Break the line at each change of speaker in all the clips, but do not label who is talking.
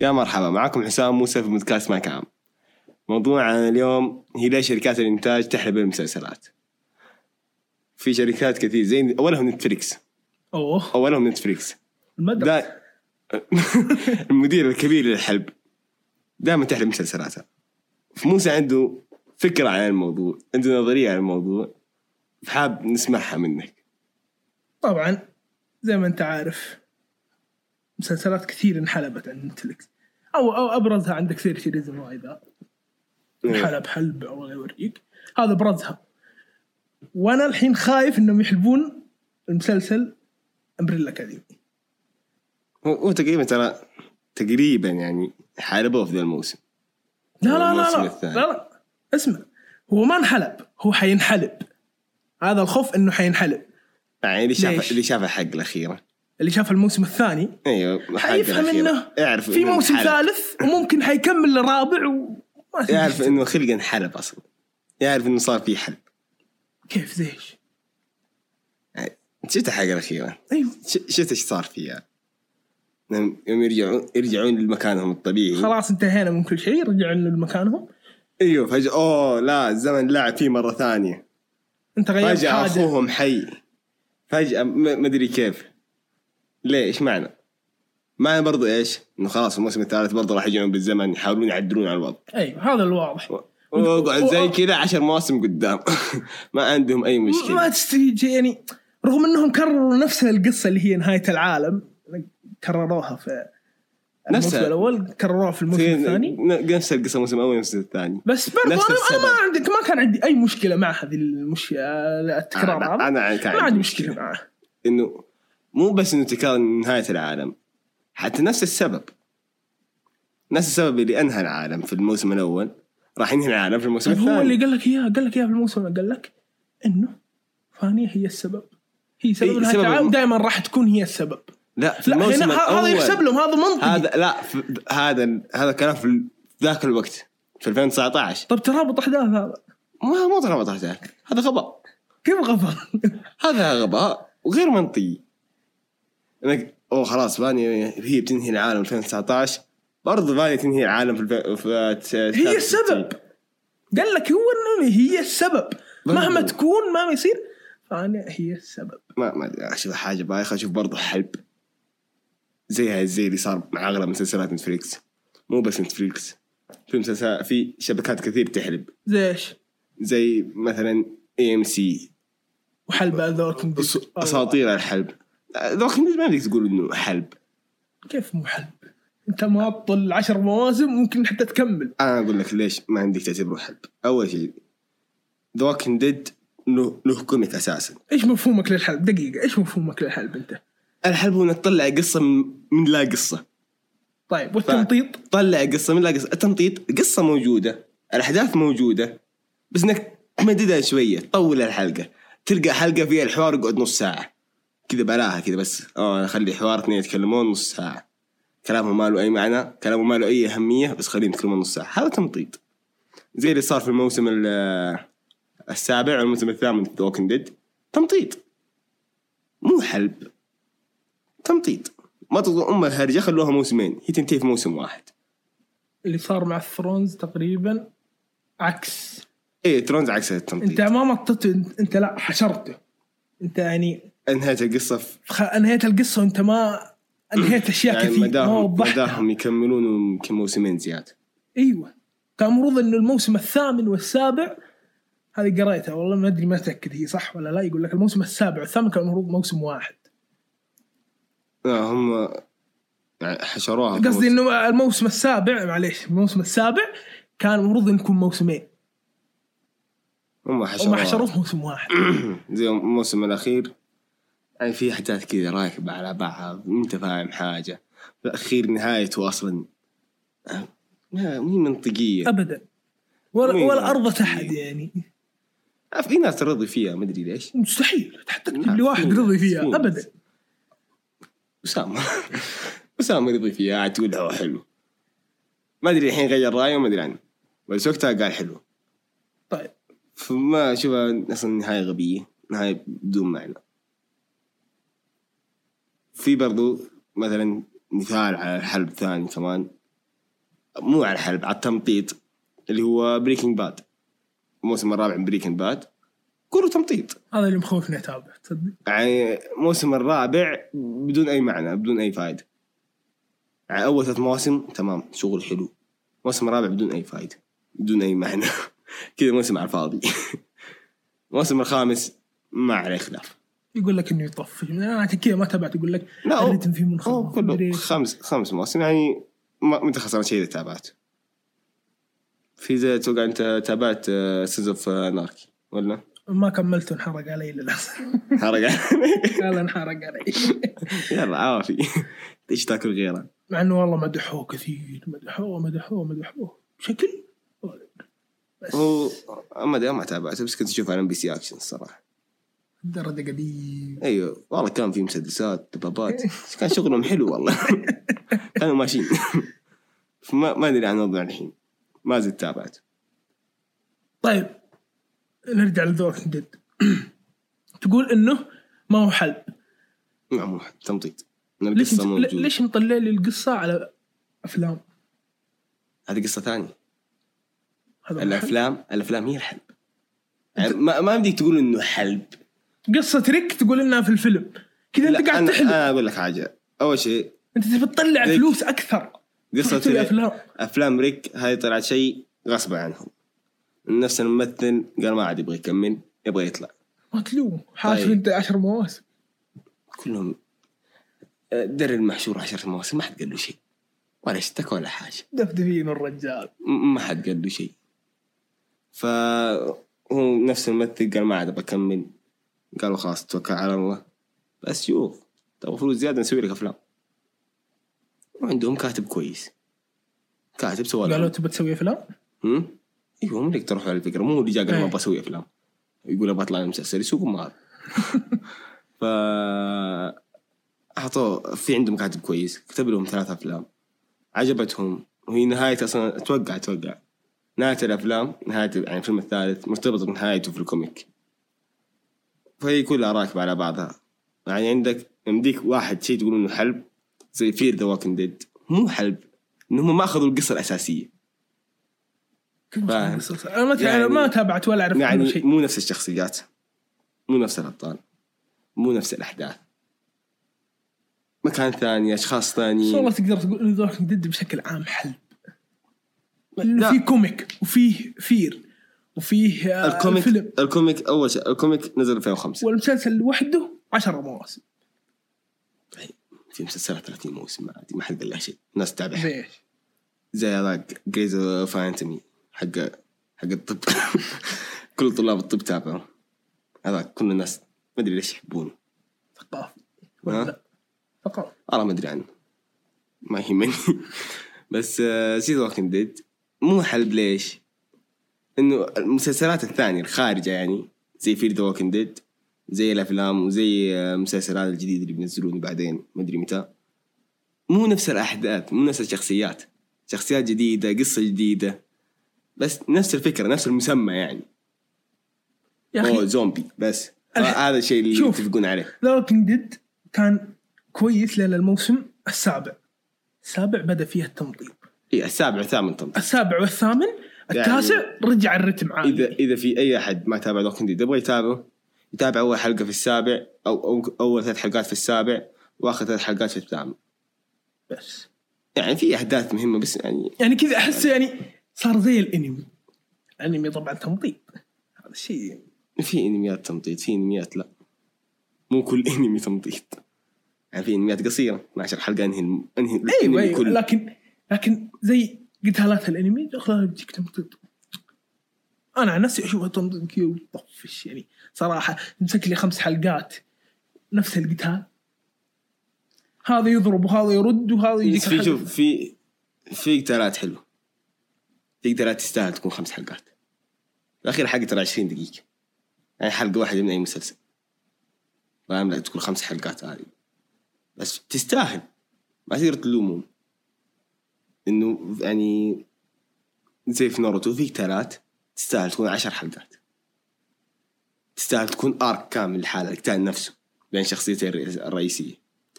يا مرحبا معكم حسام موسى في بودكاست ما كام موضوعنا اليوم هي ليش شركات الانتاج تحلب المسلسلات في شركات كثير زي اولهم نتفليكس
اوه
اولهم نتفليكس
المدرسة
دا المدير الكبير للحلب دائما تحلب مسلسلاته فموسى عنده فكرة عن الموضوع عنده نظرية عن الموضوع فحاب نسمعها منك
طبعا زي ما انت عارف مسلسلات كثير انحلبت عن نتفلكس او او ابرزها عندك كثير سيريز الموعظة انحلب حلب او وريق هذا ابرزها وانا الحين خايف انهم يحلبون المسلسل امبريلا اكاديمي
هو- هو تقريبا ترى تقريبا يعني حاربوه في ذا الموسم
لا لا
الموسم
لا لا
الثاني.
لا لا اسمع هو ما انحلب هو حينحلب هذا الخوف انه حينحلب
يعني اللي شاف
ليش؟
اللي شاف الحق الأخيرة
اللي شاف الموسم الثاني
ايوه الحلقة
حيفهم
الأخيرة.
انه
يعرف
في
إنه
موسم
انحلب.
ثالث وممكن حيكمل لرابع وما تدري
يعرف انه خلق انحلب اصلا يعرف انه صار في حلب
كيف زي ايش؟
يعني أنت شفت الحلقة الأخيرة
ايوه
ش- شفت ايش صار فيها لما- يوم يرجعون يرجعون لمكانهم الطبيعي
خلاص انتهينا من كل شيء رجعوا لمكانهم
ايوه فجاه اوه لا الزمن لعب فيه مره ثانيه
انت غيرت
فجاه
حاجه
اخوهم حي فجاه م- مدري كيف ليه ايش معنى؟ معنى برضو ايش؟ انه خلاص الموسم الثالث برضو راح يرجعون بالزمن يحاولون يعدلون على الوضع
ايوه هذا الواضح
وقعد زي كذا عشر مواسم قدام ما عندهم اي مشكله
ما تستفيد شيء يعني رغم انهم كرروا نفس القصه اللي هي نهايه العالم كرروها في الموسم
نفسها.
الاول كرروها في الموسم
في-
الثاني
ن- نفس القصه الموسم الاول نفس الثاني
بس برضو
نفس
انا انا ما
السبب.
عندك ما كان عندي اي مشكله مع هذه المش... آه، التكرار
أنا-
هذا
أنا كان
ما
عندي
عندي
مشكلة.
مشكله معه
انه مو بس انه تكرار نهايه العالم حتى نفس السبب نفس السبب اللي انهى العالم في الموسم الاول راح ينهي العالم في الموسم
طيب هو
الثاني
اللي قال لك اياه قال لك اياه في الموسم اللي قال لك انه فانية هي السبب هي سبب
إيه،
نهاية
سبب
العالم
الم-
دائما راح تكون هي السبب
لا في
لا
الموسم
هنا ه-
الاول
هذا يحسب لهم هذا منطقي
هذا لا في هذا هذا كلام في ال- في ذاك الوقت في 2019
طب طيب ترابط احداث هذا
ما مو ترابط احداث هذا غباء
كيف غفر
هذا غباء وغير منطقي انك اوه خلاص فانيا هي بتنهي العالم في 2019 برضه فانيا تنهي العالم في, الف... في... في...
هي السبب قال لك هو انه هي السبب مهما
برضو.
تكون مهما يصير فانية هي السبب
ما ما أدري، اشوف حاجه بايخه اشوف برضه حلب زيها زي اللي صار مع اغلب مسلسلات نتفليكس مو بس نتفليكس في مسلسل في شبكات كثير تحلب
زي ايش
زي مثلا اي ام سي
وحلبة ذا Walking Dead. الله.
اساطير الحلب لكن ما بدك تقول انه حلب
كيف مو حلب انت ماط العشر مواسم ممكن حتى تكمل
انا اقول لك ليش ما عندك تعتبره حلب اول شيء ذا ووكينج ديد له له كوميك اساسا
ايش مفهومك للحلب دقيقه ايش مفهومك للحلب انت
الحلب هو انك تطلع قصه من, من لا قصه
طيب والتمطيط
طلع قصه من لا قصه التمطيط قصه موجوده الاحداث موجوده بس انك تمددها شويه طول الحلقه تلقى حلقه فيها الحوار يقعد نص ساعه كذا بلاها كذا بس اه خلي حوار اثنين يتكلمون نص ساعه كلامهم ما له اي معنى كلامهم ما له اي اهميه بس خليهم يتكلمون نص ساعه هذا تمطيط زي اللي صار في الموسم ال- آه، السابع والموسم الثامن في ووكينج ديد تمطيط مو حلب تمطيط ما تظن ام الهرجه خلوها موسمين هي تنتهي في موسم واحد
اللي صار مع الثرونز تقريبا عكس
ايه ترونز عكس
انت
التمطيط
ما مطته انت, انت لا حشرته انت يعني
انهت القصه في
خ... انهيت القصه وانت ما انهيت اشياء
يعني
كثير ما
مداهم
وضحتها
مداهم يكملون يمكن موسمين زياده
ايوه كان المفروض انه الموسم الثامن والسابع هذه قريتها والله ما ادري ما اتاكد هي صح ولا لا يقول لك الموسم السابع والثامن كان المفروض موسم واحد
آه هم يعني حشروها في
قصدي
موسم.
انه الموسم السابع معليش الموسم السابع كان المفروض انه يكون موسمين
هم
هم
حشروها
حشروه في موسم واحد
زي الموسم الاخير يعني في احداث كذا راكبه على بعض انت فاهم حاجه في الاخير نهايته اصلا آه، ما مو منطقيه
ابدا ولا
مين؟
ولا ارضت احد يعني
آه، في ناس ترضي فيها ما ادري ليش
مستحيل حتى تجيب
لا،
لي واحد
نعم، مستحيل.
رضي فيها
مستحيل.
ابدا
اسامه اسامه رضي فيها قاعد تقول اوه حلو ما ادري الحين غير رايه ما ادري عنه بس وقتها قال حلو
طيب
فما اشوفها اصلا نهايه غبيه نهايه بدون معنى في برضو مثلا مثال على الحلب ثاني كمان مو على الحلب على التمطيط اللي هو بريكنج باد الموسم الرابع من بريكنج باد كله تمطيط
هذا اللي مخوفني اتابع تصدق
يعني الموسم الرابع بدون اي معنى بدون اي فائده يعني اول ثلاث مواسم تمام شغل حلو الموسم الرابع بدون اي فائده بدون اي معنى كذا موسم على الفاضي الموسم الخامس ما عليه خلاف
يقول لك انه يطفش انا عشان كذا ما تابعت يقول لك
لا، هو-
الريتم فيه
أو
منخفض مدري
كله
إيش.
خمس خمس مواسم يعني ما ما انت خسرت شيء اذا تابعت في زي اتوقع انت تابعت آه، سيز اوف ناركي ولا؟
ما كملته انحرق علي للاسف
حرق
قال انحرق علي
يلا عافي ايش تاكل غيره؟
مع انه والله مدحوه كثير مدحوه مدحوه مدحوه بشكل بس
هو ما ما تابعته بس كنت اشوف على ام بي سي اكشن الصراحه
درجه قديم
ايوه والله كان في مسدسات دبابات كان شغلهم حلو والله كانوا ماشيين فما ما ادري عن وضعه الحين ما زلت تابعت
طيب نرجع لذوق جد تقول انه ما هو حل
نعم واحد تمطيط إن
ليش
القصه
مت-
موجوده
ليش مطلع لي القصه على افلام
هذه قصه ثانيه
هذا هو الحل.
الافلام الافلام هي الحلب يعني ما ما بديك تقول انه حلب
قصه تريك تقول انها في الفيلم كذا انت
لا،
قاعد
أنا,
تحلم
انا اقول لك حاجه اول شيء
انت تبي تطلع
ليك.
فلوس اكثر
قصه
رحت الافلام
افلام ريك هاي طلعت شيء غصب عنهم نفس الممثل قال ما عاد يبغى يكمل يبغى يطلع
ما تلوم حاسب
طيب.
انت 10 مواسم
كلهم آه، در المحشور عشرة مواسم ما حد قال له شيء ولا اشتكى ولا حاجه
دفدفين الرجال
م- ما حد قال له شيء فهو نفس الممثل قال ما عاد بكمل قالوا خلاص توكل على الله بس شوف طب المفروض زياده نسوي لك افلام وعندهم كاتب كويس كاتب سوى
قالوا
لهم
تبى تسوي افلام؟
هم؟ ايوه هم اللي اقترحوا على الفكره مو هو اللي جاء قال ما
إيه.
ابغى اسوي افلام يقول ابغى اطلع مسلسل يسوق ما هذا ف اعطوه في عندهم كاتب كويس كتب لهم ثلاث افلام عجبتهم وهي نهايه اصلا اتوقع اتوقع نهايه الافلام نهايه يعني الفيلم الثالث مرتبطه بنهايته في الكوميك فهي كلها راكبه على بعضها يعني عندك يمديك واحد شيء تقول انه حلب زي فير ذا واكن ديد مو حلب انهم ما اخذوا القصه الاساسيه
كم
فاهم.
قصص؟ انا ما
يعني-
يعني ما تابعت ولا اعرف عنه
يعني
شيء
مو نفس الشخصيات مو نفس الابطال مو نفس الاحداث مكان ثاني اشخاص
بس والله
ثانيين
تقدر تقول ان ذوق ديد بشكل عام حلب
لا.
لأنه في كوميك وفيه فير وفيه آه،
الكوميك
الفيلم
الكوميك اول شيء الكوميك نزل 2005
والمسلسل لوحده 10 مواسم
في مسلسلات 30 موسم ما عادي ما حد قال لها شيء الناس تتابعها
ليش؟
زي هذاك جريز فانتمي حق حق الطب كل طلاب الطب تابعوا هذاك كل الناس ما ادري ليش يحبونه
ثقافي
ها؟
ولا لا؟ ثقافي
والله ما ادري عنه ما يهمني بس آه، سيد ووكينج ديد مو حلب ليش؟ انه المسلسلات الثانيه الخارجه يعني زي فير ذا ووكينج ديد زي الافلام وزي آه، المسلسلات الجديده اللي بينزلون بعدين ما ادري متى مو نفس الاحداث مو نفس الشخصيات شخصيات جديده قصه جديده بس نفس الفكره نفس المسمى يعني
يا
اوه
اخي
زومبي بس
الح-
هذا الشيء اللي
شوف.
يتفقون عليه
ذا ديد كان كويس لان الموسم السابع السابع بدا فيه التمطيط
إيه السابع ثامن طبعا
السابع والثامن التاسع رجع الرتم عالي
اذا اذا في اي احد ما تابع دوكن ديد يبغى يتابعه يتابع اول حلقه في السابع او, أو اول ثلاث حلقات في السابع واخر ثلاث حلقات في الثامن
بس
يعني في احداث مهمه بس يعني
يعني كذا احس يعني صار زي الانمي الانمي طبعا تمطيط هذا الشيء
في انميات تمطيط في انميات لا مو كل انمي تمطيط يعني في انميات قصيره 12 حلقه انهي الم- انهي
ايوه
الانمي
ايوه
كله
لكن لكن زي قتالات الانمي دخلها بتجيك تمطيط انا عن نفسي اشوفها تمطيط كذا وتطفش يعني صراحه تمسك لي خمس حلقات نفس القتال هذا يضرب وهذا يرد وهذا يجيك
بس في
الحلقة.
شوف في في قتالات حلوه في قتالات تستاهل تكون خمس حلقات الاخير حلقه ترى 20 دقيقه يعني حلقه واحده من اي مسلسل فاهم لا تكون خمس حلقات عادي بس تستاهل ما تقدر تلومهم انه يعني زي في ناروتو في قتالات تستاهل تكون عشر حلقات تستاهل تكون ارك كامل لحالها القتال نفسه بين شخصيتين الرئيس- الرئيسيه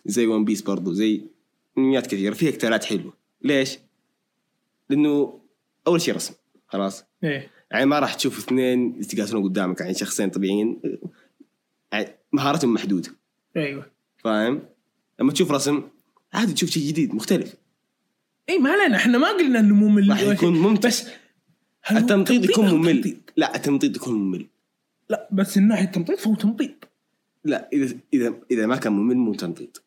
زي ون بيس برضو زي انميات كثيره فيها قتالات حلوه ليش؟ لانه اول شيء رسم خلاص
ايه
يعني ما راح تشوف اثنين يتقاتلون قدامك يعني شخصين طبيعيين يعني مهارتهم محدوده
ايوه
فاهم؟ لما تشوف رسم عادي تشوف شيء جديد مختلف
اي إيه، ما علينا احنا ما قلنا انه ممل
راح يكون ممتع بس
هل هو
التمطيط
تمطيط
يكون
أو
ممل
تمطيط؟
لا التمطيط يكون ممل
لا بس من ناحيه التمطيط فهو تمطيط
لا اذا اذا اذا ما كان ممل مو تمطيط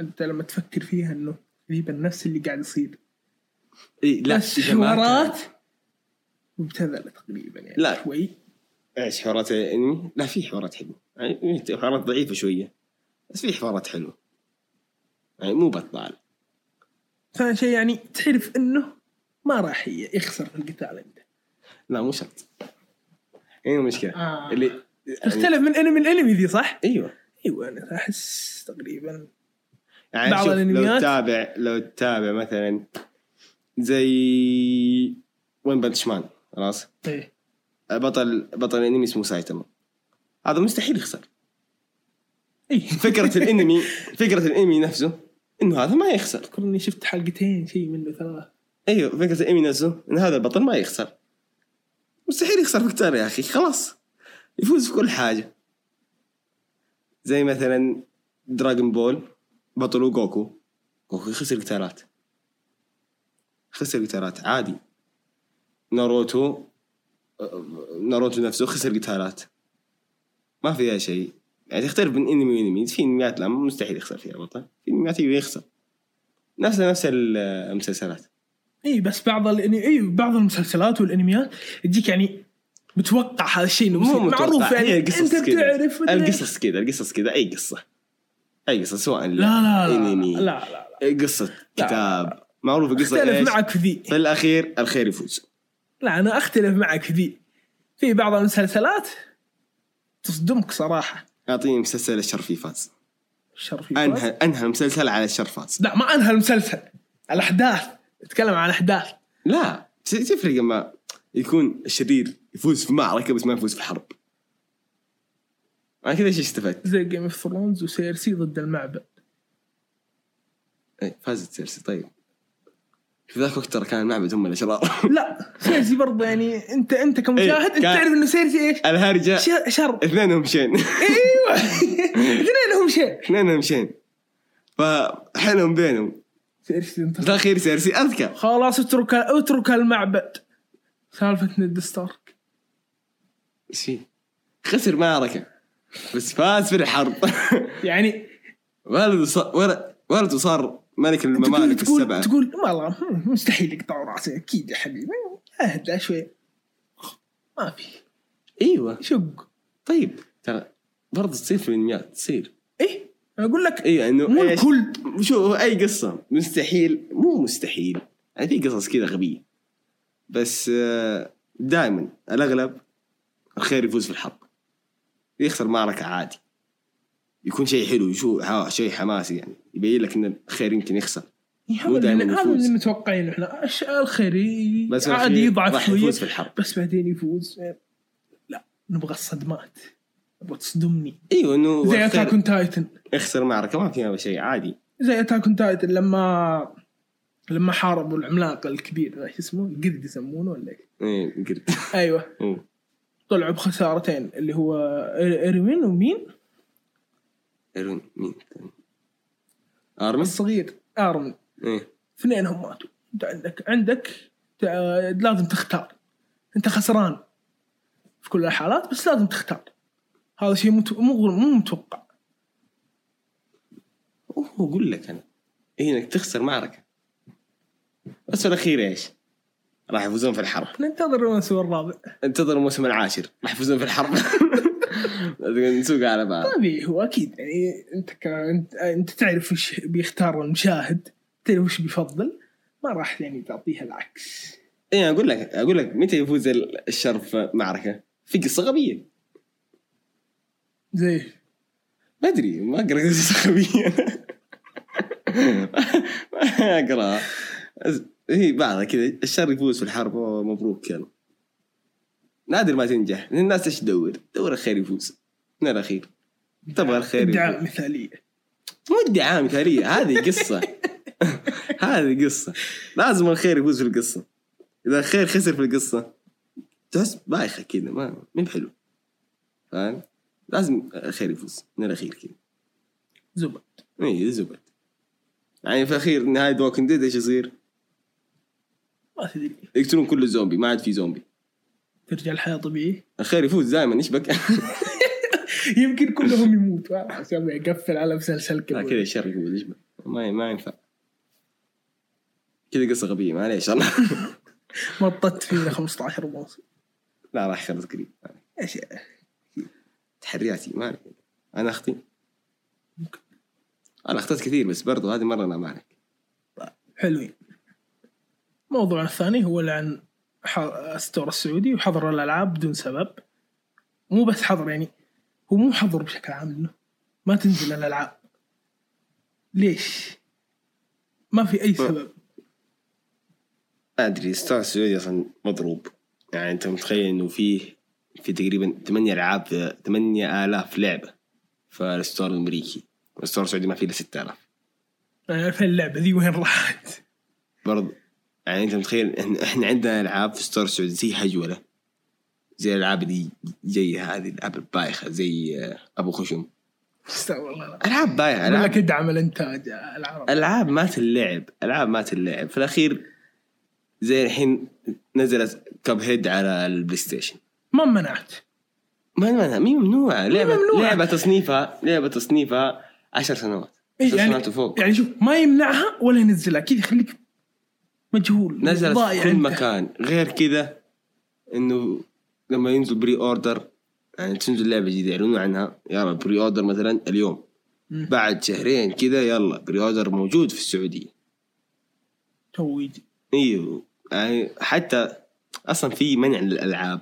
انت لما تفكر فيها انه تقريبا نفس اللي قاعد يصير
إي، لا
بس
إذا ما كان-
حوارات مبتذله تقريبا يعني
لا.
شوي
ايش حوارات الانمي؟ لا في حوارات حلوه يعني حوارات ضعيفه شويه بس في حوارات حلوه يعني مو بطال
فشيء يعني تعرف انه ما راح ي- يخسر في القتال انت
لا مو شرط اي مشكله
آه.
اللي يعني
تختلف من انمي لانمي ذي صح؟
ايوه
ايوه انا احس تقريبا
يعني
بعض
شوف لو
الأنميات-
تتابع لو تتابع مثلا زي وين بنش مان خلاص
ايه
بطل بطل الانمي اسمه سايتاما هذا مستحيل يخسر
ايه
فكره الانمي فكره الانمي نفسه انه هذا ما يخسر
اذكر اني شفت حلقتين شيء منه ثلاث
ايوه فكره الانمي نفسه ان هذا البطل ما يخسر مستحيل يخسر فيكتار يا اخي خلاص يفوز في كل حاجه زي مثلا دراغون بول بطله جوكو جوكو خسر قتالات خسر قتالات عادي ناروتو آه، ناروتو نفسه خسر قتالات ما فيها شيء يعني تختلف من انمي وانمي في انميات لا مستحيل يخسر فيها البطل في انميات أيوة يخسر نفس نفس المسلسلات
اي بس بعض الاني اي بعض المسلسلات والانميات تجيك يعني متوقع هذا الشيء انه
مو
بيصير.
متوقع
معروف يعني
هي قصص
انت
كذا.
بتعرف إنه-
القصص كذا القصص كذا اي قصه اي قصه سواء
لا لا لا
انمي
لا لا, لا, لا.
قصه كتاب معروف القصه
اختلف
ايش
معك في ذي
في الاخير الخير يفوز
لا انا اختلف معك في ذي في بعض المسلسلات تصدمك صراحه
اعطيني مسلسل الشرفي فاز
شرفي فاز.
انهى انهى مسلسل على الشر فاز
لا ما انهى المسلسل الاحداث اتكلم عن الاحداث
لا ت- تفرق لما يكون الشرير يفوز في معركه بس ما يفوز في حرب انا كذا ايش استفدت؟
زي جيم اوف ثرونز وسيرسي ضد المعبد
إيه، فازت سيرسي طيب في ذاك الوقت ترى كان المعبد هم الاشرار
لا سيرسي برضه يعني انت انت كمشاهد انت
كان-
تعرف انه سيرسي ايش؟
الهرجه
ش- شر
اثنينهم شين
ايوه اثنينهم شيء
اثنينهم شين فحلم بينهم
سيرسي انت
الاخير سيرسي اذكى
خلاص اترك اترك المعبد سالفه نيد ستارك
ايش فيه؟ خسر معركه بس فاز في الحرب
يعني
ولده صار ول- ولده صار ملك
تقول
الممالك
تقول,
السبعه
تقول والله مستحيل يقطعوا راسي اكيد يا حبيبي اهدى شوي ما في
ايوه
شق
طيب ترى برضه تصير في الانميات تصير
ايه اقول لك
ايوه انه
مو
إيش؟
الكل
شو اي قصه مستحيل مو مستحيل يعني في قصص كذا غبيه بس دائما الاغلب الخير يفوز في الحرب يخسر معركه عادي يكون شيء حلو شو ها- شيء حماسي يعني يبين لك ان الخير يمكن يخسر مو
هذا
دايماً
اللي- هذا
يفوز.
اللي متوقعين احنا الش- الخير ي-
بس
عادي
الأخير
يضعف
راح
شويه
يفوز في الحرب
بس بعدين يفوز لا نبغى الصدمات نبغى تصدمني
ايوه انه
زي
الخير
اتاك تايتن
يخسر معركه ما فيها شيء عادي
زي اتاك اون تايتن لما لما حاربوا العملاق الكبير ذا شو اسمه القرد يسمونه ولا ايش؟
ايه قرد
ايوه
أوه.
طلعوا بخسارتين اللي هو إر- اروين ومين؟
ايرون مين الثاني؟ ارمس
الصغير ارمن
ايه
اثنينهم ماتوا انت عندك عندك تع- لازم تختار انت خسران في كل الحالات بس لازم تختار هذا شيء مت- مو مو متوقع
أوه، اقول لك انا إيه انك تخسر معركه بس في الاخير ايش؟ راح يفوزون في الحرب
ننتظر الموسم الرابع
انتظر الموسم العاشر راح يفوزون في الحرب نسوق على بعض
طبيعي هو اكيد يعني انت ك... انت, انت تعرف وش بيختار المشاهد تعرف وش بيفضل ما راح يعني تعطيها العكس
ايه اقول لك اقول لك متى يفوز ال- الشر في معركه؟ في قصه غبيه
زي
ما ادري ما اقرا قصص غبيه ما اقرا هي بعضها كذا الشر يفوز في الحرب أوه، مبروك كان نادر ما تنجح لأن الناس ايش تدور؟ تدور الخير يفوز من الاخير تبغى الخير يفوز.
ادعاء مثاليه
مو ادعاء مثاليه هذه قصه هذه قصه لازم الخير يفوز في القصه اذا الخير خسر في القصه تحس بايخه كذا ما مين حلو فاهم لازم الخير يفوز من الاخير كذا
زبد
اي إيه، زبد يعني في الاخير نهايه ووكن ديد ايش يصير؟
ما تدري
يقتلون كل الزومبي ما عاد في زومبي
ترجع الحياه طبيعي
الخير يفوز دائما ايش بك؟
يمكن كلهم يموتوا عشان يقفل على مسلسل
لا كذا
كذا
الشر يفوز ايش بك؟ ما ما ينفع كذا قصه غبيه معليش انا
مطت فينا 15 ونص
لا راح خلص قريب
يا شيخ
تحرياتي ما عليك انا اختي انا اخطيت كثير بس برضو هذه مره انا ما عليك
حلوين موضوعنا الثاني هو عن ح- الستور السعودي وحظر الالعاب بدون سبب مو بس حظر يعني هو مو حظر بشكل عام انه ما تنزل الالعاب ليش؟ ما في اي سبب
ما ادري ستار السعودي اصلا مضروب يعني انت متخيل انه فيه في تقريبا 8 العاب 8000 لعبه فالستور الامريكي والستور السعودي ما فيه الا 6000
يعني فين اللعبه ذي وين راحت؟
برضو يعني انت متخيل إحنا- احنا عندنا العاب في ستار السعودي زي هجوله زي الالعاب اللي زي هذه الالعاب البايخه زي آه، ابو خشم
استغفر الله العظيم.
العاب بايخه
ولا
العاب
تدعم الانتاج العربي
العاب مات اللعب العاب مات اللعب في الاخير زي الحين نزلت كاب هيد على البلاي ستيشن
ما منعت
ما ما مي ممنوعه لعبه
ممنوعة.
لعبه تصنيفها لعبه تصنيفها 10 سنوات 10
يعني
سنوات وفوق
يعني شوف ما يمنعها ولا ينزلها كذا يخليك مجهول
نزلت في
ضايع
كل
أنت.
مكان غير كذا انه لما ينزل بري اوردر يعني تنزل لعبه جديده يعلنون عنها يلا بري اوردر مثلا اليوم
مم.
بعد شهرين كذا يلا بري اوردر موجود في السعوديه
تويج
ايوه يعني حتى اصلا في منع للالعاب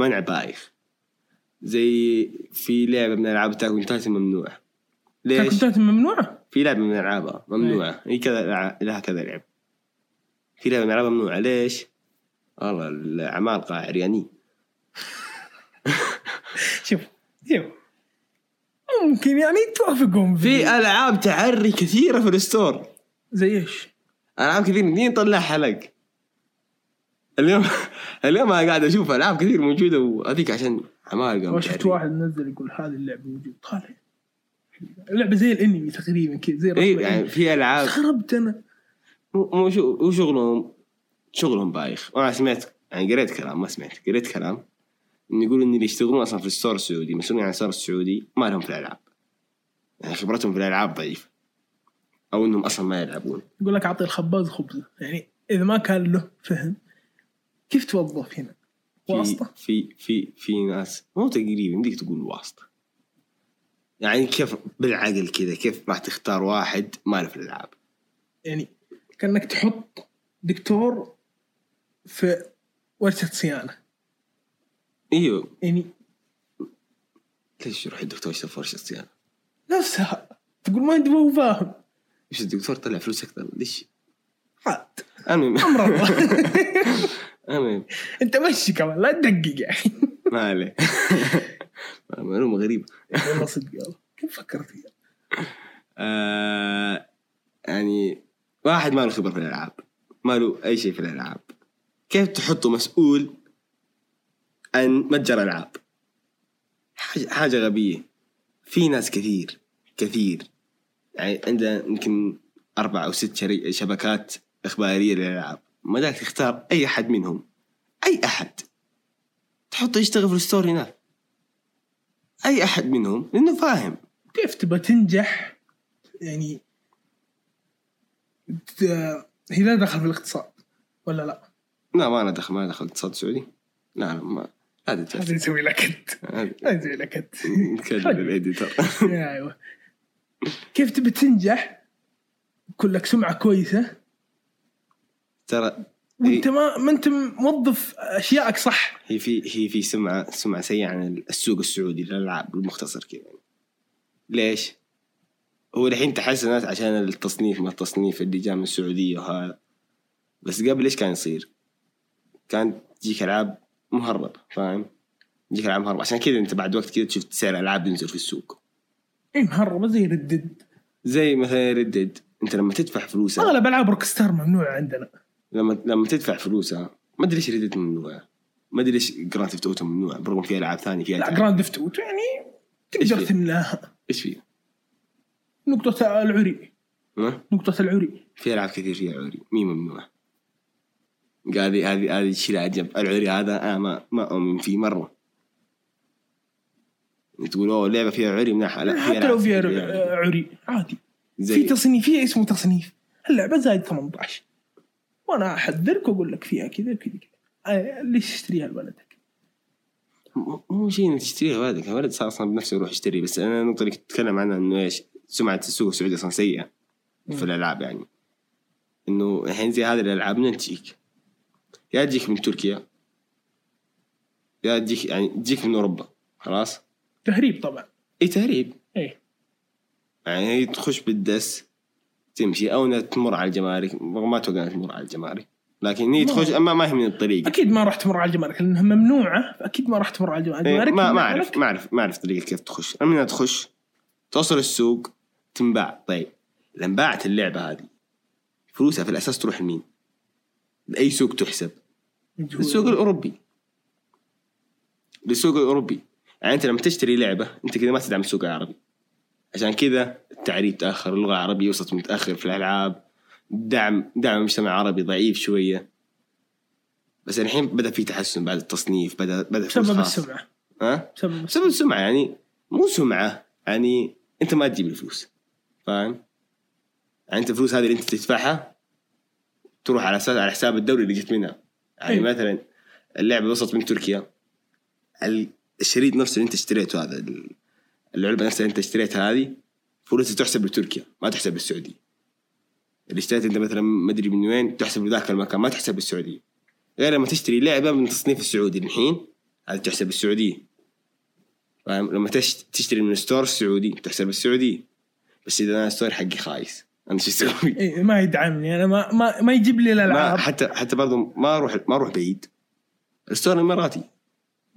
منع بايخ زي في لعبه من العاب تاكو تايتن ممنوعه ليش؟
تاكل ممنوعه
في لعبه من العابها ممنوعه هي كذا لع- لها كذا لعب في لعبه من العابها ممنوعه ليش؟ والله العمالقه عريانين
شوف شوف ممكن يعني توافقهم
في
في
العاب تعري كثيره في الستور
زي ايش؟
العاب كثير مين طلع حلق اليوم اليوم انا قاعد اشوف العاب كثير موجوده وهذيك عشان عمالقه
ما شفت
متعرية.
واحد نزل يقول هذه اللعبه موجوده طالع اللعبه زي الانمي تقريبا كذا زي
اي
رسم
يعني
الأنمي.
في العاب
استغربت انا
مو مو شو- مو شغلهم شغلهم بايخ وانا سمعت يعني قريت كلام ما سمعت قريت كلام انه يقولوا ان اللي يشتغلون اصلا في الستور السعودي مسؤولين عن الستور السعودي ما لهم في الالعاب يعني خبرتهم في الالعاب ضعيفه او انهم اصلا ما يلعبون
يقول لك اعطي الخباز خبزه يعني اذا ما كان له فهم كيف توظف هنا؟
في
واسطه
في في في ناس مو تقريبا يمديك تقول واسطه يعني كيف بالعقل كذا كيف راح تختار واحد ما له في الالعاب
يعني كانك تحط دكتور في ورشه صيانه
ايوه
يعني
ليش يروح الدكتور يشتغل في ورشه صيانه؟
نفسها تقول ما ادري هو فاهم
ايش الدكتور طلع فلوس اكثر ليش؟
عاد
المهم
امر الله
المهم
انت مشي كمان لا تدقق يعني
ما عليه معلومة غريبة
والله صدق والله كيف فكرت فيها؟
آه يعني واحد ما له خبرة في الألعاب ما له أي شيء في الألعاب كيف تحطه مسؤول عن متجر ألعاب حاجة, حاجة غبية في ناس كثير كثير يعني عندنا يمكن أربع أو ست شري- شبكات إخبارية للألعاب ما داك تختار أي أحد منهم أي أحد تحطه يشتغل في الستور هناك أي أحد منهم لأنه فاهم
كيف تبى تنجح يعني ت- هي لا دخل في الاقتصاد ولا لا؟
لا ما انا دخل ما دخل اقتصاد سعودي لا لا ما لا
هذا
تتأثر.
يسوي لك انت
هذا
هذا يسوي لك انت
نكلم الاديتر
يا ايوه كيف تبي تنجح يكون لك سمعه كويسه
ترى
وانت ما ما انت موظف اشيائك صح
هي في هي في سمعه سمعه سيئه عن السوق السعودي للالعاب بالمختصر كذا يعني. ليش؟ هو الحين تحسنت عشان التصنيف ما التصنيف اللي جاء من السعوديه وهذا بس قبل ايش كان يصير؟ كان تجيك العاب مهرب فاهم؟ تجيك العاب مهرب عشان كذا انت بعد وقت كذا شفت سعر الالعاب ينزل في السوق
اي مهربه إيه، زي ردد
زي مثلا ردد انت لما تدفع فلوسها
اغلب العاب روك ستار ممنوعه عندنا
لما لما تدفع فلوسها ما ادري ايش ردد ممنوعه ما ادري ايش جراند ثيفت اوتو ممنوع برغم في العاب ثانيه فيها
لا
تعب.
جراند ديفت اوتو يعني
إيش
تقدر
فيه؟
تملاها
ايش فيه؟
نقطة العري
ها؟
نقطة العري
في العاب كثير فيها عري مي ممنوع قال هذه هذه هذه شيلها على جنب العري هذا انا ما ما اؤمن فيه مره تقول اوه لعبه فيها عري مناحه لا في
حتى
ألعاب
لو فيها
كثير عري.
ر- عري عادي
زي
في تصنيف فيها اسمه تصنيف اللعبة زايد 18 وانا احذرك واقول لك فيها كذا كذا كذا آه، ليش تشتريها لولدك؟
م- مو شيء انك تشتريه ولدك الولد صار اصلا بنفسه يروح يشتري بس انا النقطه اللي كنت اتكلم عنها انه ايش سمعه السوق السعودي اصلا سيئه في الالعاب يعني انه الحين زي هذه الالعاب من تجيك؟ يا تجيك من تركيا يا تجيك يعني تجيك من اوروبا خلاص؟
تهريب طبعا
اي تهريب
ايه
يعني هي تخش بالدس تمشي او انها تمر على الجمارك رغم ما اتوقع انها تمر على الجمارك لكن هي
ما-
تخش اما ما هي من الطريق
اكيد ما راح تمر على الجمارك لانها ممنوعه فاكيد ما راح تمر على الجمارك
إيه،
الجمارك
ما ما
ممنوعة
اعرف
لك.
ما اعرف ما اعرف طريقه كيف تخش المهم انها تخش توصل السوق تنباع طيب لما انباعت اللعبه هذه فلوسها في الاساس تروح لمين؟ لاي سوق تحسب؟
مجهول.
للسوق الاوروبي للسوق الاوروبي يعني انت لما تشتري لعبه انت كذا ما تدعم السوق العربي عشان كذا التعريب تاخر اللغه العربيه وصلت متاخر في الالعاب دعم دعم المجتمع العربي ضعيف شويه بس الحين بدا في تحسن بعد التصنيف بدا بدا في
بسبب
خاص.
السمعه
ها
بسبب
بسبب السمعه يعني مو سمعه يعني انت ما تجيب الفلوس فاهم؟ يعني انت الفلوس هذه اللي انت تدفعها تروح على اساس على حساب الدوله اللي جيت منها يعني
أي.
مثلا اللعبه وصلت من تركيا ال- الشريط نفسه اللي انت اشتريته هذا ال- العلبه نفسها اللي انت اشتريتها هذه فلوسها تحسب لتركيا ما تحسب للسعوديه اللي اشتريت انت مثلا ما ادري من وين تحسب لذاك المكان ما تحسب للسعوديه غير لما تشتري لعبه من التصنيف السعودي الحين هذه تحسب السعوديه فاهم لما تشت- تشتري من ستور السعودي تحسب السعودي بس اذا انا ستور حقي خايس انا شو اسوي؟
إيه ما يدعمني انا ما ما, ما يجيب لي
ما
الالعاب
حتى حتى برضو ما اروح ما اروح بعيد الستور الاماراتي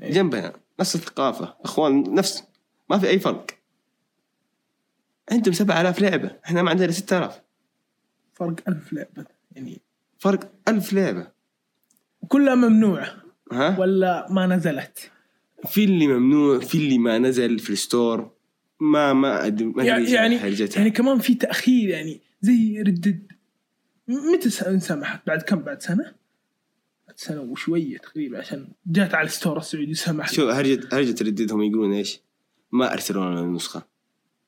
إيه.
جنبنا نفس الثقافه اخوان نفس ما في اي فرق عندهم 7000 لعبه احنا ما عندنا 6000
فرق ألف لعبه يعني
فرق 1000 لعبه
كلها ممنوعه
ها
ولا ما نزلت
في اللي ممنوع في اللي ما نزل في الستور ما ما أدري ما أدري
يعني
إيش
يعني,
هرجتها.
يعني كمان في تاخير يعني زي ردد متى س- انسمحت بعد كم بعد سنه؟ بعد سنه وشويه تقريبا عشان جات على الستور السعودي سمحت
شو هرجة هرجة رددهم يقولون ايش؟ ما ارسلوا لنا النسخة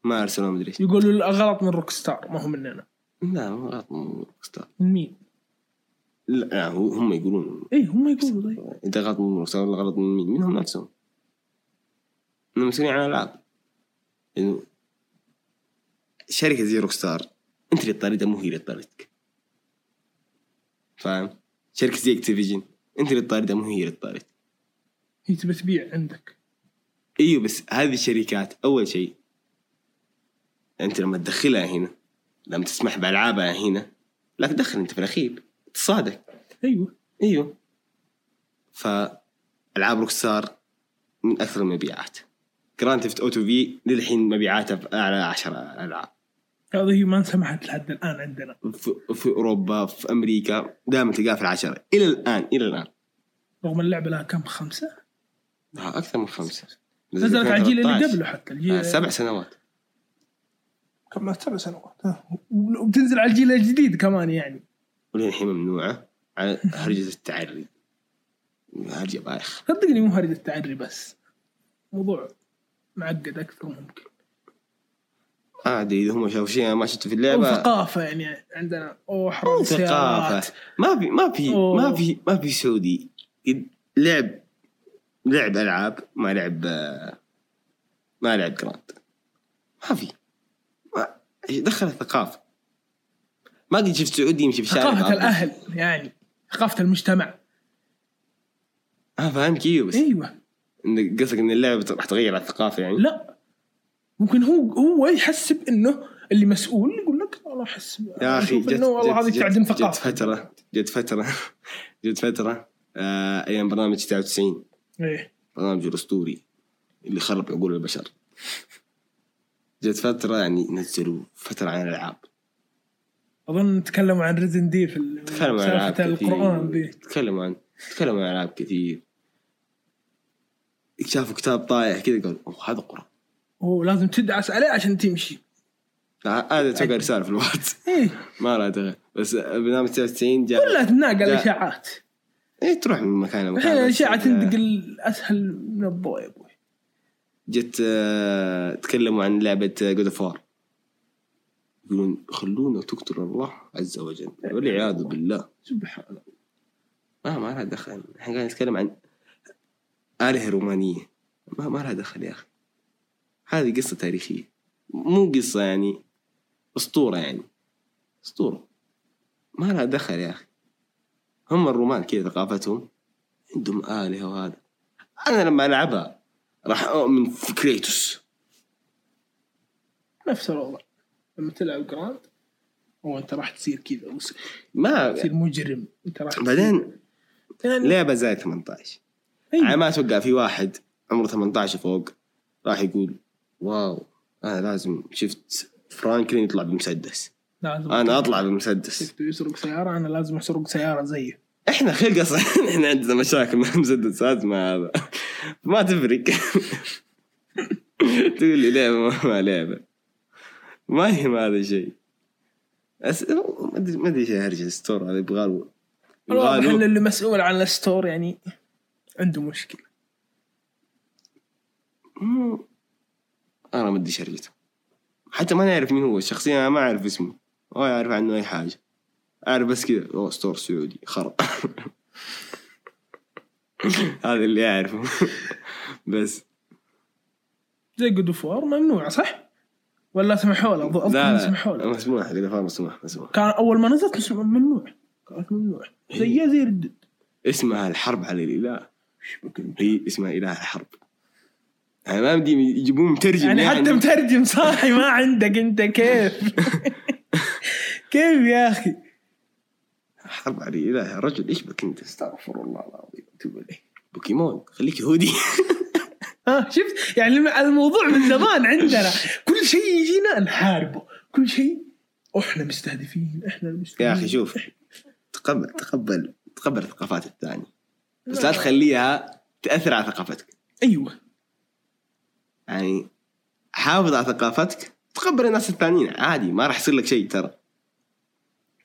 ما ارسلوا مدري ايش
يقولوا لا، غلط من روك ستار ما هو مننا
لا مو غلط مو روكستار
من مين؟
لا لا، هو- هم يقولون
اي هم يقولوا طيب
انت غلط من روكستار ولا غلط من مين؟ منهم نفسهم انهم مسؤولين عن الالعاب انه شركة زي روكستار انت اللي اضطريتها مو هي اللي اضطرتك فاهم؟ شركة زي اكتيفيجن انت اللي اضطريتها مو هي اللي اضطرتك
هي تبي تبيع عندك
ايوه بس هذه الشركات اول شيء انت لما تدخلها هنا لما تسمح بالعابها هنا لا تدخل انت في الاخير اقتصادك
ايوه
ايوه فالعاب روكسار من اكثر المبيعات جراند ثيفت اوتو في للحين مبيعاتها في اعلى 10 العاب
هذا هي ما انسمحت لحد الان عندنا
في, في اوروبا في امريكا دائما تلقاها في العشره الى الان الى الان
رغم اللعبه لها كم خمسه
ها، اكثر من خمسه
نزلت على الجيل اللي
2013.
قبله حتى
آه،
الجيل
سبع سنوات
كم سبع سنوات ها. وبتنزل على الجيل الجديد كمان يعني
وللحين ممنوعه على هرجه التعري هرجه بايخ
صدقني مو هرجه التعري بس موضوع معقد اكثر ممكن
عادي اذا هم شافوا شيء أنا ما شفته في
او
اللعبه
ثقافه يعني عندنا اوه حرام
مو ثقافه
سيارات
ما في ما في
أوه.
ما في ما في سعودي يد- لعب لعب العاب ما لعب آه، ما لعب جراند ما في ما دخل الثقافه ما قد شفت سعودي يمشي في الشارع
ثقافه
يتعرض.
الاهل يعني ثقافه المجتمع
اه فاهم كيف بس
ايوه
إن قصدك ان اللعبه راح تغير على الثقافه يعني
لا ممكن هو هو يحسب انه اللي مسؤول يقول لك والله احس
يا اخي
أشوف إنه والله هذه تعدم
جت
ثقافه
فتره جت فتره جت فتره آه ايام برنامج 99
ايه
برنامج الاسطوري اللي خرب عقول البشر جت فتره يعني نزلوا فتره عن الالعاب
اظن تكلموا عن ريزن دي في ال-
تكلموا عن العاب
سالفة
كثير
القران ذي
تكلموا عن تكلموا عن العاب كثير شافوا كتاب طايح كذا قالوا اوه هذا قران
هو لازم تدعس عليه عشان تمشي
ه- هذا توقع رساله في الواتس
ايه
ما لها دخل بس برنامج 99 جاء
كلها تناقل
لا.
الاشاعات
ايه تروح من مكان لمكان
الحين
بس
الاشاعه
إذا-
تندق الاسهل من الضوء يا ابوي
جت آه، تكلموا عن لعبة جود اوف وار يقولون خلونا تقتل الله عز وجل والعياذ بالله
سبحان الله
ما ما لها دخل احنا قاعدين نتكلم عن آلهة رومانية ما ما لها دخل يا أخي هذه قصة تاريخية مو قصة يعني أسطورة يعني أسطورة ما لها دخل يا أخي هم الرومان كذا ثقافتهم عندهم آلهة وهذا أنا لما ألعبها راح أؤمن في كريتوس
نفس الوضع لما تلعب جراند هو انت راح تصير كذا وس-
ما
تصير مجرم انت راح تصير-
بعدين
يعني
لعبه زي 18
أيوة.
على يعني ما اتوقع في واحد عمره 18 فوق راح يقول واو انا لازم شفت فرانكلين يطلع بمسدس
لازم
انا اطلع بمسدس
شفته يسرق سياره انا لازم اسرق سياره زيه
احنا خلق اصلا احنا عندنا مشاكل مع المسدسات مع هذا ما تفرق تقول لي لعبه ما- ما لعبه ما هي ما هذا شيء أس... ما ادري ما ادري ايش هرجه الستور هذا يبغى له- يبغى
الواضح
له-
ان اللي مسؤول عن الستور يعني عنده مشكله
مم. انا ما ادري شريته حتى ما نعرف مين هو شخصيا انا ما اعرف اسمه ولا اعرف عنه اي حاجه اعرف بس كذا اوه ستور سعودي خرب هذا اللي اعرفه بس
زي جود اوف وار ممنوع صح؟ ولا سمحوا له أظن- اظن سمحوا له
مسموح اذا فاهم مسموح مسموح
كان اول ما نزلت مسموح- ممنوع كانت ممنوع
إيه.
زيه زي ردد
اسمها الحرب على الاله
إيش بك
هي اسمها اله الحرب يعني ما بدي يجيبون مترجم
يعني حتى مترجم صاحي ما عندك انت كيف كيف يا اخي
حرب على الاله يا رجل ايش بك انت
استغفر الله العظيم اتوب اليه
بوكيمون خليك يهودي
ها شفت يعني الم- الموضوع من زمان عندنا كل شيء يجينا نحاربه كل شيء احنا مستهدفين احنا المستهدفين
يا اخي شوف تقبل تقبل تقبل ثقافات الثاني بس لا تخليها تاثر على ثقافتك
ايوه
يعني حافظ على ثقافتك تقبل الناس الثانيين عادي ما راح يصير لك شيء ترى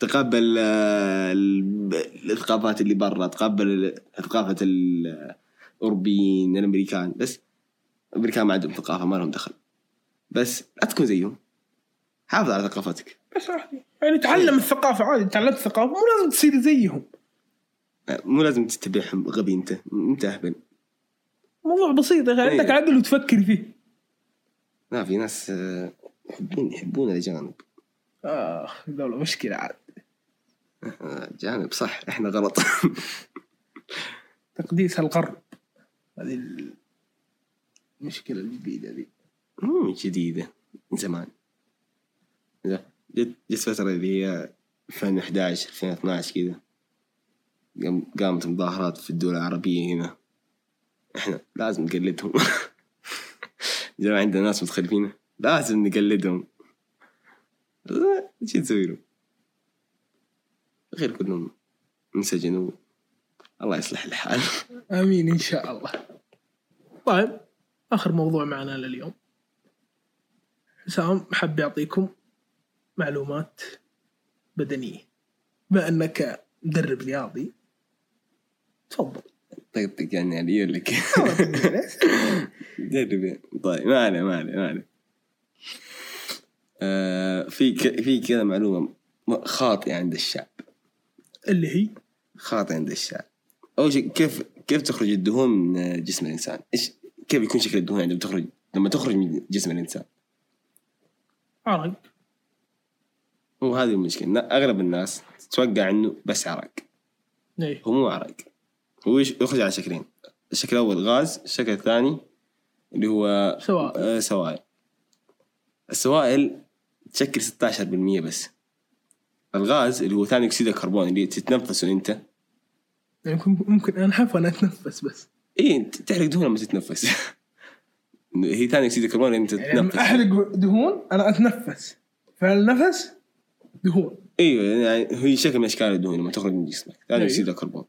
تقبل آه، ال- الثقافات اللي برا تقبل ال- ثقافة ال- الأوروبيين الأمريكان بس الأمريكان ما عندهم ثقافة ما لهم دخل بس لا تكون زيهم حافظ على ثقافتك
بس عادي. يعني تعلم الثقافه عادي تعلمت الثقافه مو لازم تصير زيهم
مو لازم تتبعهم غبي انت انت اهبل
موضوع بسيط يا اخي
أيوة.
عندك عقل وتفكر فيه
لا في ناس آه، يحبون يحبون الاجانب
اخ دولة مشكله عاد
آه، اجانب صح احنا غلط
تقديس الغرب هذه ال- المشكله الجديده ذي
مو من جديده من زمان لا، جت جت آه، فتره اللي هي 2011 2012 كذا قام- قامت مظاهرات في الدول العربيه هنا احنا لازم نقلدهم جماعة عندنا ناس متخلفين لازم نقلدهم آه، شو نسوي لهم؟ غير كلهم انسجنوا الله يصلح الحال
امين ان شاء الله طيب اخر موضوع معنا لليوم حسام حب يعطيكم معلومات بدنيه بما انك مدرب رياضي تفضل
طقطق يعني علي يقول لك جرب يعني. طيب ما عليه ما عليه ما عليه آه، في ك- في كذا معلومه م- خاطئه عند الشعب
اللي هي
خاطئه عند الشعب اول شيء كيف كيف تخرج الدهون من جسم الانسان؟ ايش كيف يكون شكل الدهون عندما تخرج لما تخرج من جسم الانسان؟
عرق
هو هذه المشكله إن اغلب الناس تتوقع انه بس عرق
ايه
هو مو عرق هو يش- يخرج على شكلين الشكل الاول غاز الشكل الثاني اللي هو
سواء
آه، سوائل السوائل تشكل 16% بس الغاز اللي هو ثاني اكسيد الكربون اللي تتنفسه انت
يعني ممكن ممكن انحف وانا اتنفس بس
إيه، اي انت تحرق دهون لما تتنفس هي ثاني اكسيد الكربون انت
يعني لما
تتنفس
احرق دهون انا اتنفس فالنفس دهون
ايوه يعني هي شكل من اشكال الدهون لما تخرج من جسمك ثاني
أيوة.
اكسيد الكربون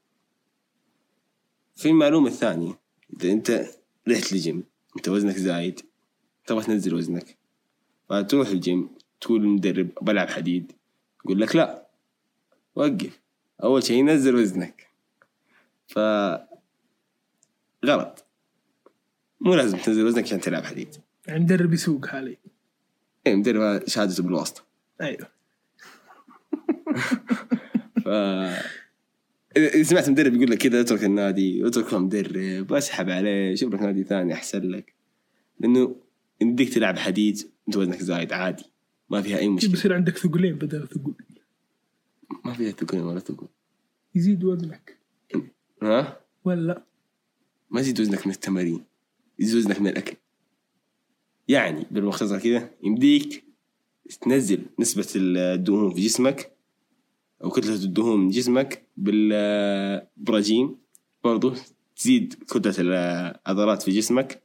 في المعلومه الثانيه اذا انت رحت لجيم انت وزنك زايد تبغى تنزل وزنك فتروح الجيم تقول للمدرب بلعب حديد يقول لك لا وقف اول شيء ينزل وزنك ف غلط مو لازم تنزل وزنك عشان تلعب حديد
يعني مدرب يسوق حالي
اي مدرب هذا شهادته بالواسطه
ايوه
ف إذا- إذا سمعت مدرب يقول لك كذا اترك النادي اترك مدرب اسحب عليه شوف لك نادي ثاني احسن لك لانه يمديك تلعب حديد انت وزنك زايد عادي ما فيها اي
شي
مشكله
بيصير عندك ثقلين بدل ثقل
ما فيها تقول ولا تقول
يزيد وزنك
ها
ولا
ما يزيد وزنك من التمارين يزيد وزنك من الاكل يعني بالمختصر كذا يمديك تنزل نسبة الدهون في جسمك أو كتلة الدهون من جسمك بال- بالرجيم برضو تزيد كتلة العضلات في جسمك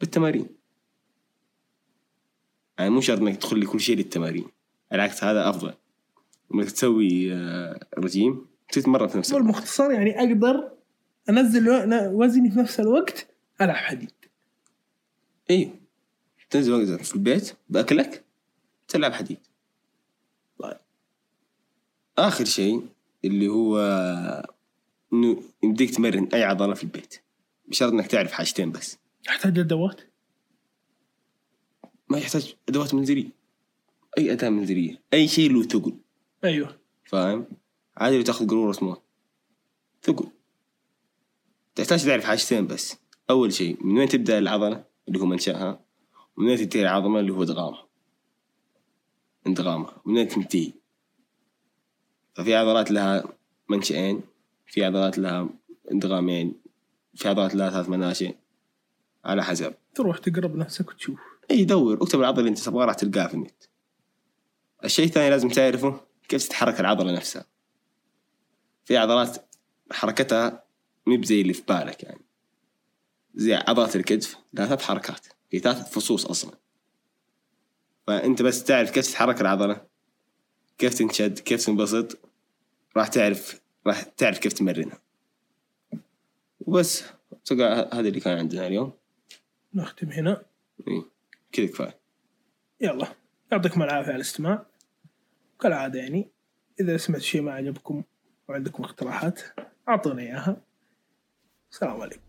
بالتمارين يعني مو شرط انك تدخل لي كل شيء للتمارين العكس هذا افضل انك تسوي آه، رجيم تتمرن في نفس الوقت
بالمختصر يعني اقدر انزل و- وزني في نفس الوقت العب حديد
ايوه تنزل وقتك في البيت باكلك تلعب حديد طيب اخر شيء اللي هو انه يمديك تمرن اي عضله في البيت بشرط انك تعرف حاجتين بس
احتاج ادوات
ما يحتاج ادوات منزليه اي اداه منزليه اي شيء له ثقل
ايوه
فاهم عادي لو تاخذ قاروره موت ثقل تحتاج تعرف حاجتين بس اول شيء من وين تبدا العضله اللي هو منشاها ومن وين تنتهي العظمه اللي هو ادغامها انضغامها ومن وين تنتهي ففي عضلات لها منشئين في عضلات لها انضغامين في عضلات لها ثلاث مناشئ على حسب
تروح تقرب نفسك وتشوف
اي دور إيه، اكتب العضله اللي انت تبغاها راح تلقاها في النت الشيء الثاني لازم تعرفه كيف تتحرك العضله نفسها في عضلات حركتها مب زي اللي في بالك يعني زي عضله الكتف لها ثلاث حركات هي ثلاث فصوص اصلا فانت بس تعرف كيف تتحرك العضله كيف تنشد كيف تنبسط راح تعرف راح تعرف كيف تمرنها وبس أتوقع هذا اللي كان عندنا اليوم
نختم هنا
إيه، كذا كفايه
يلا يعطيكم العافيه على الاستماع كالعاده يعني اذا سمعت شيء ما عجبكم وعندكم اقتراحات اعطونا اياها السلام عليكم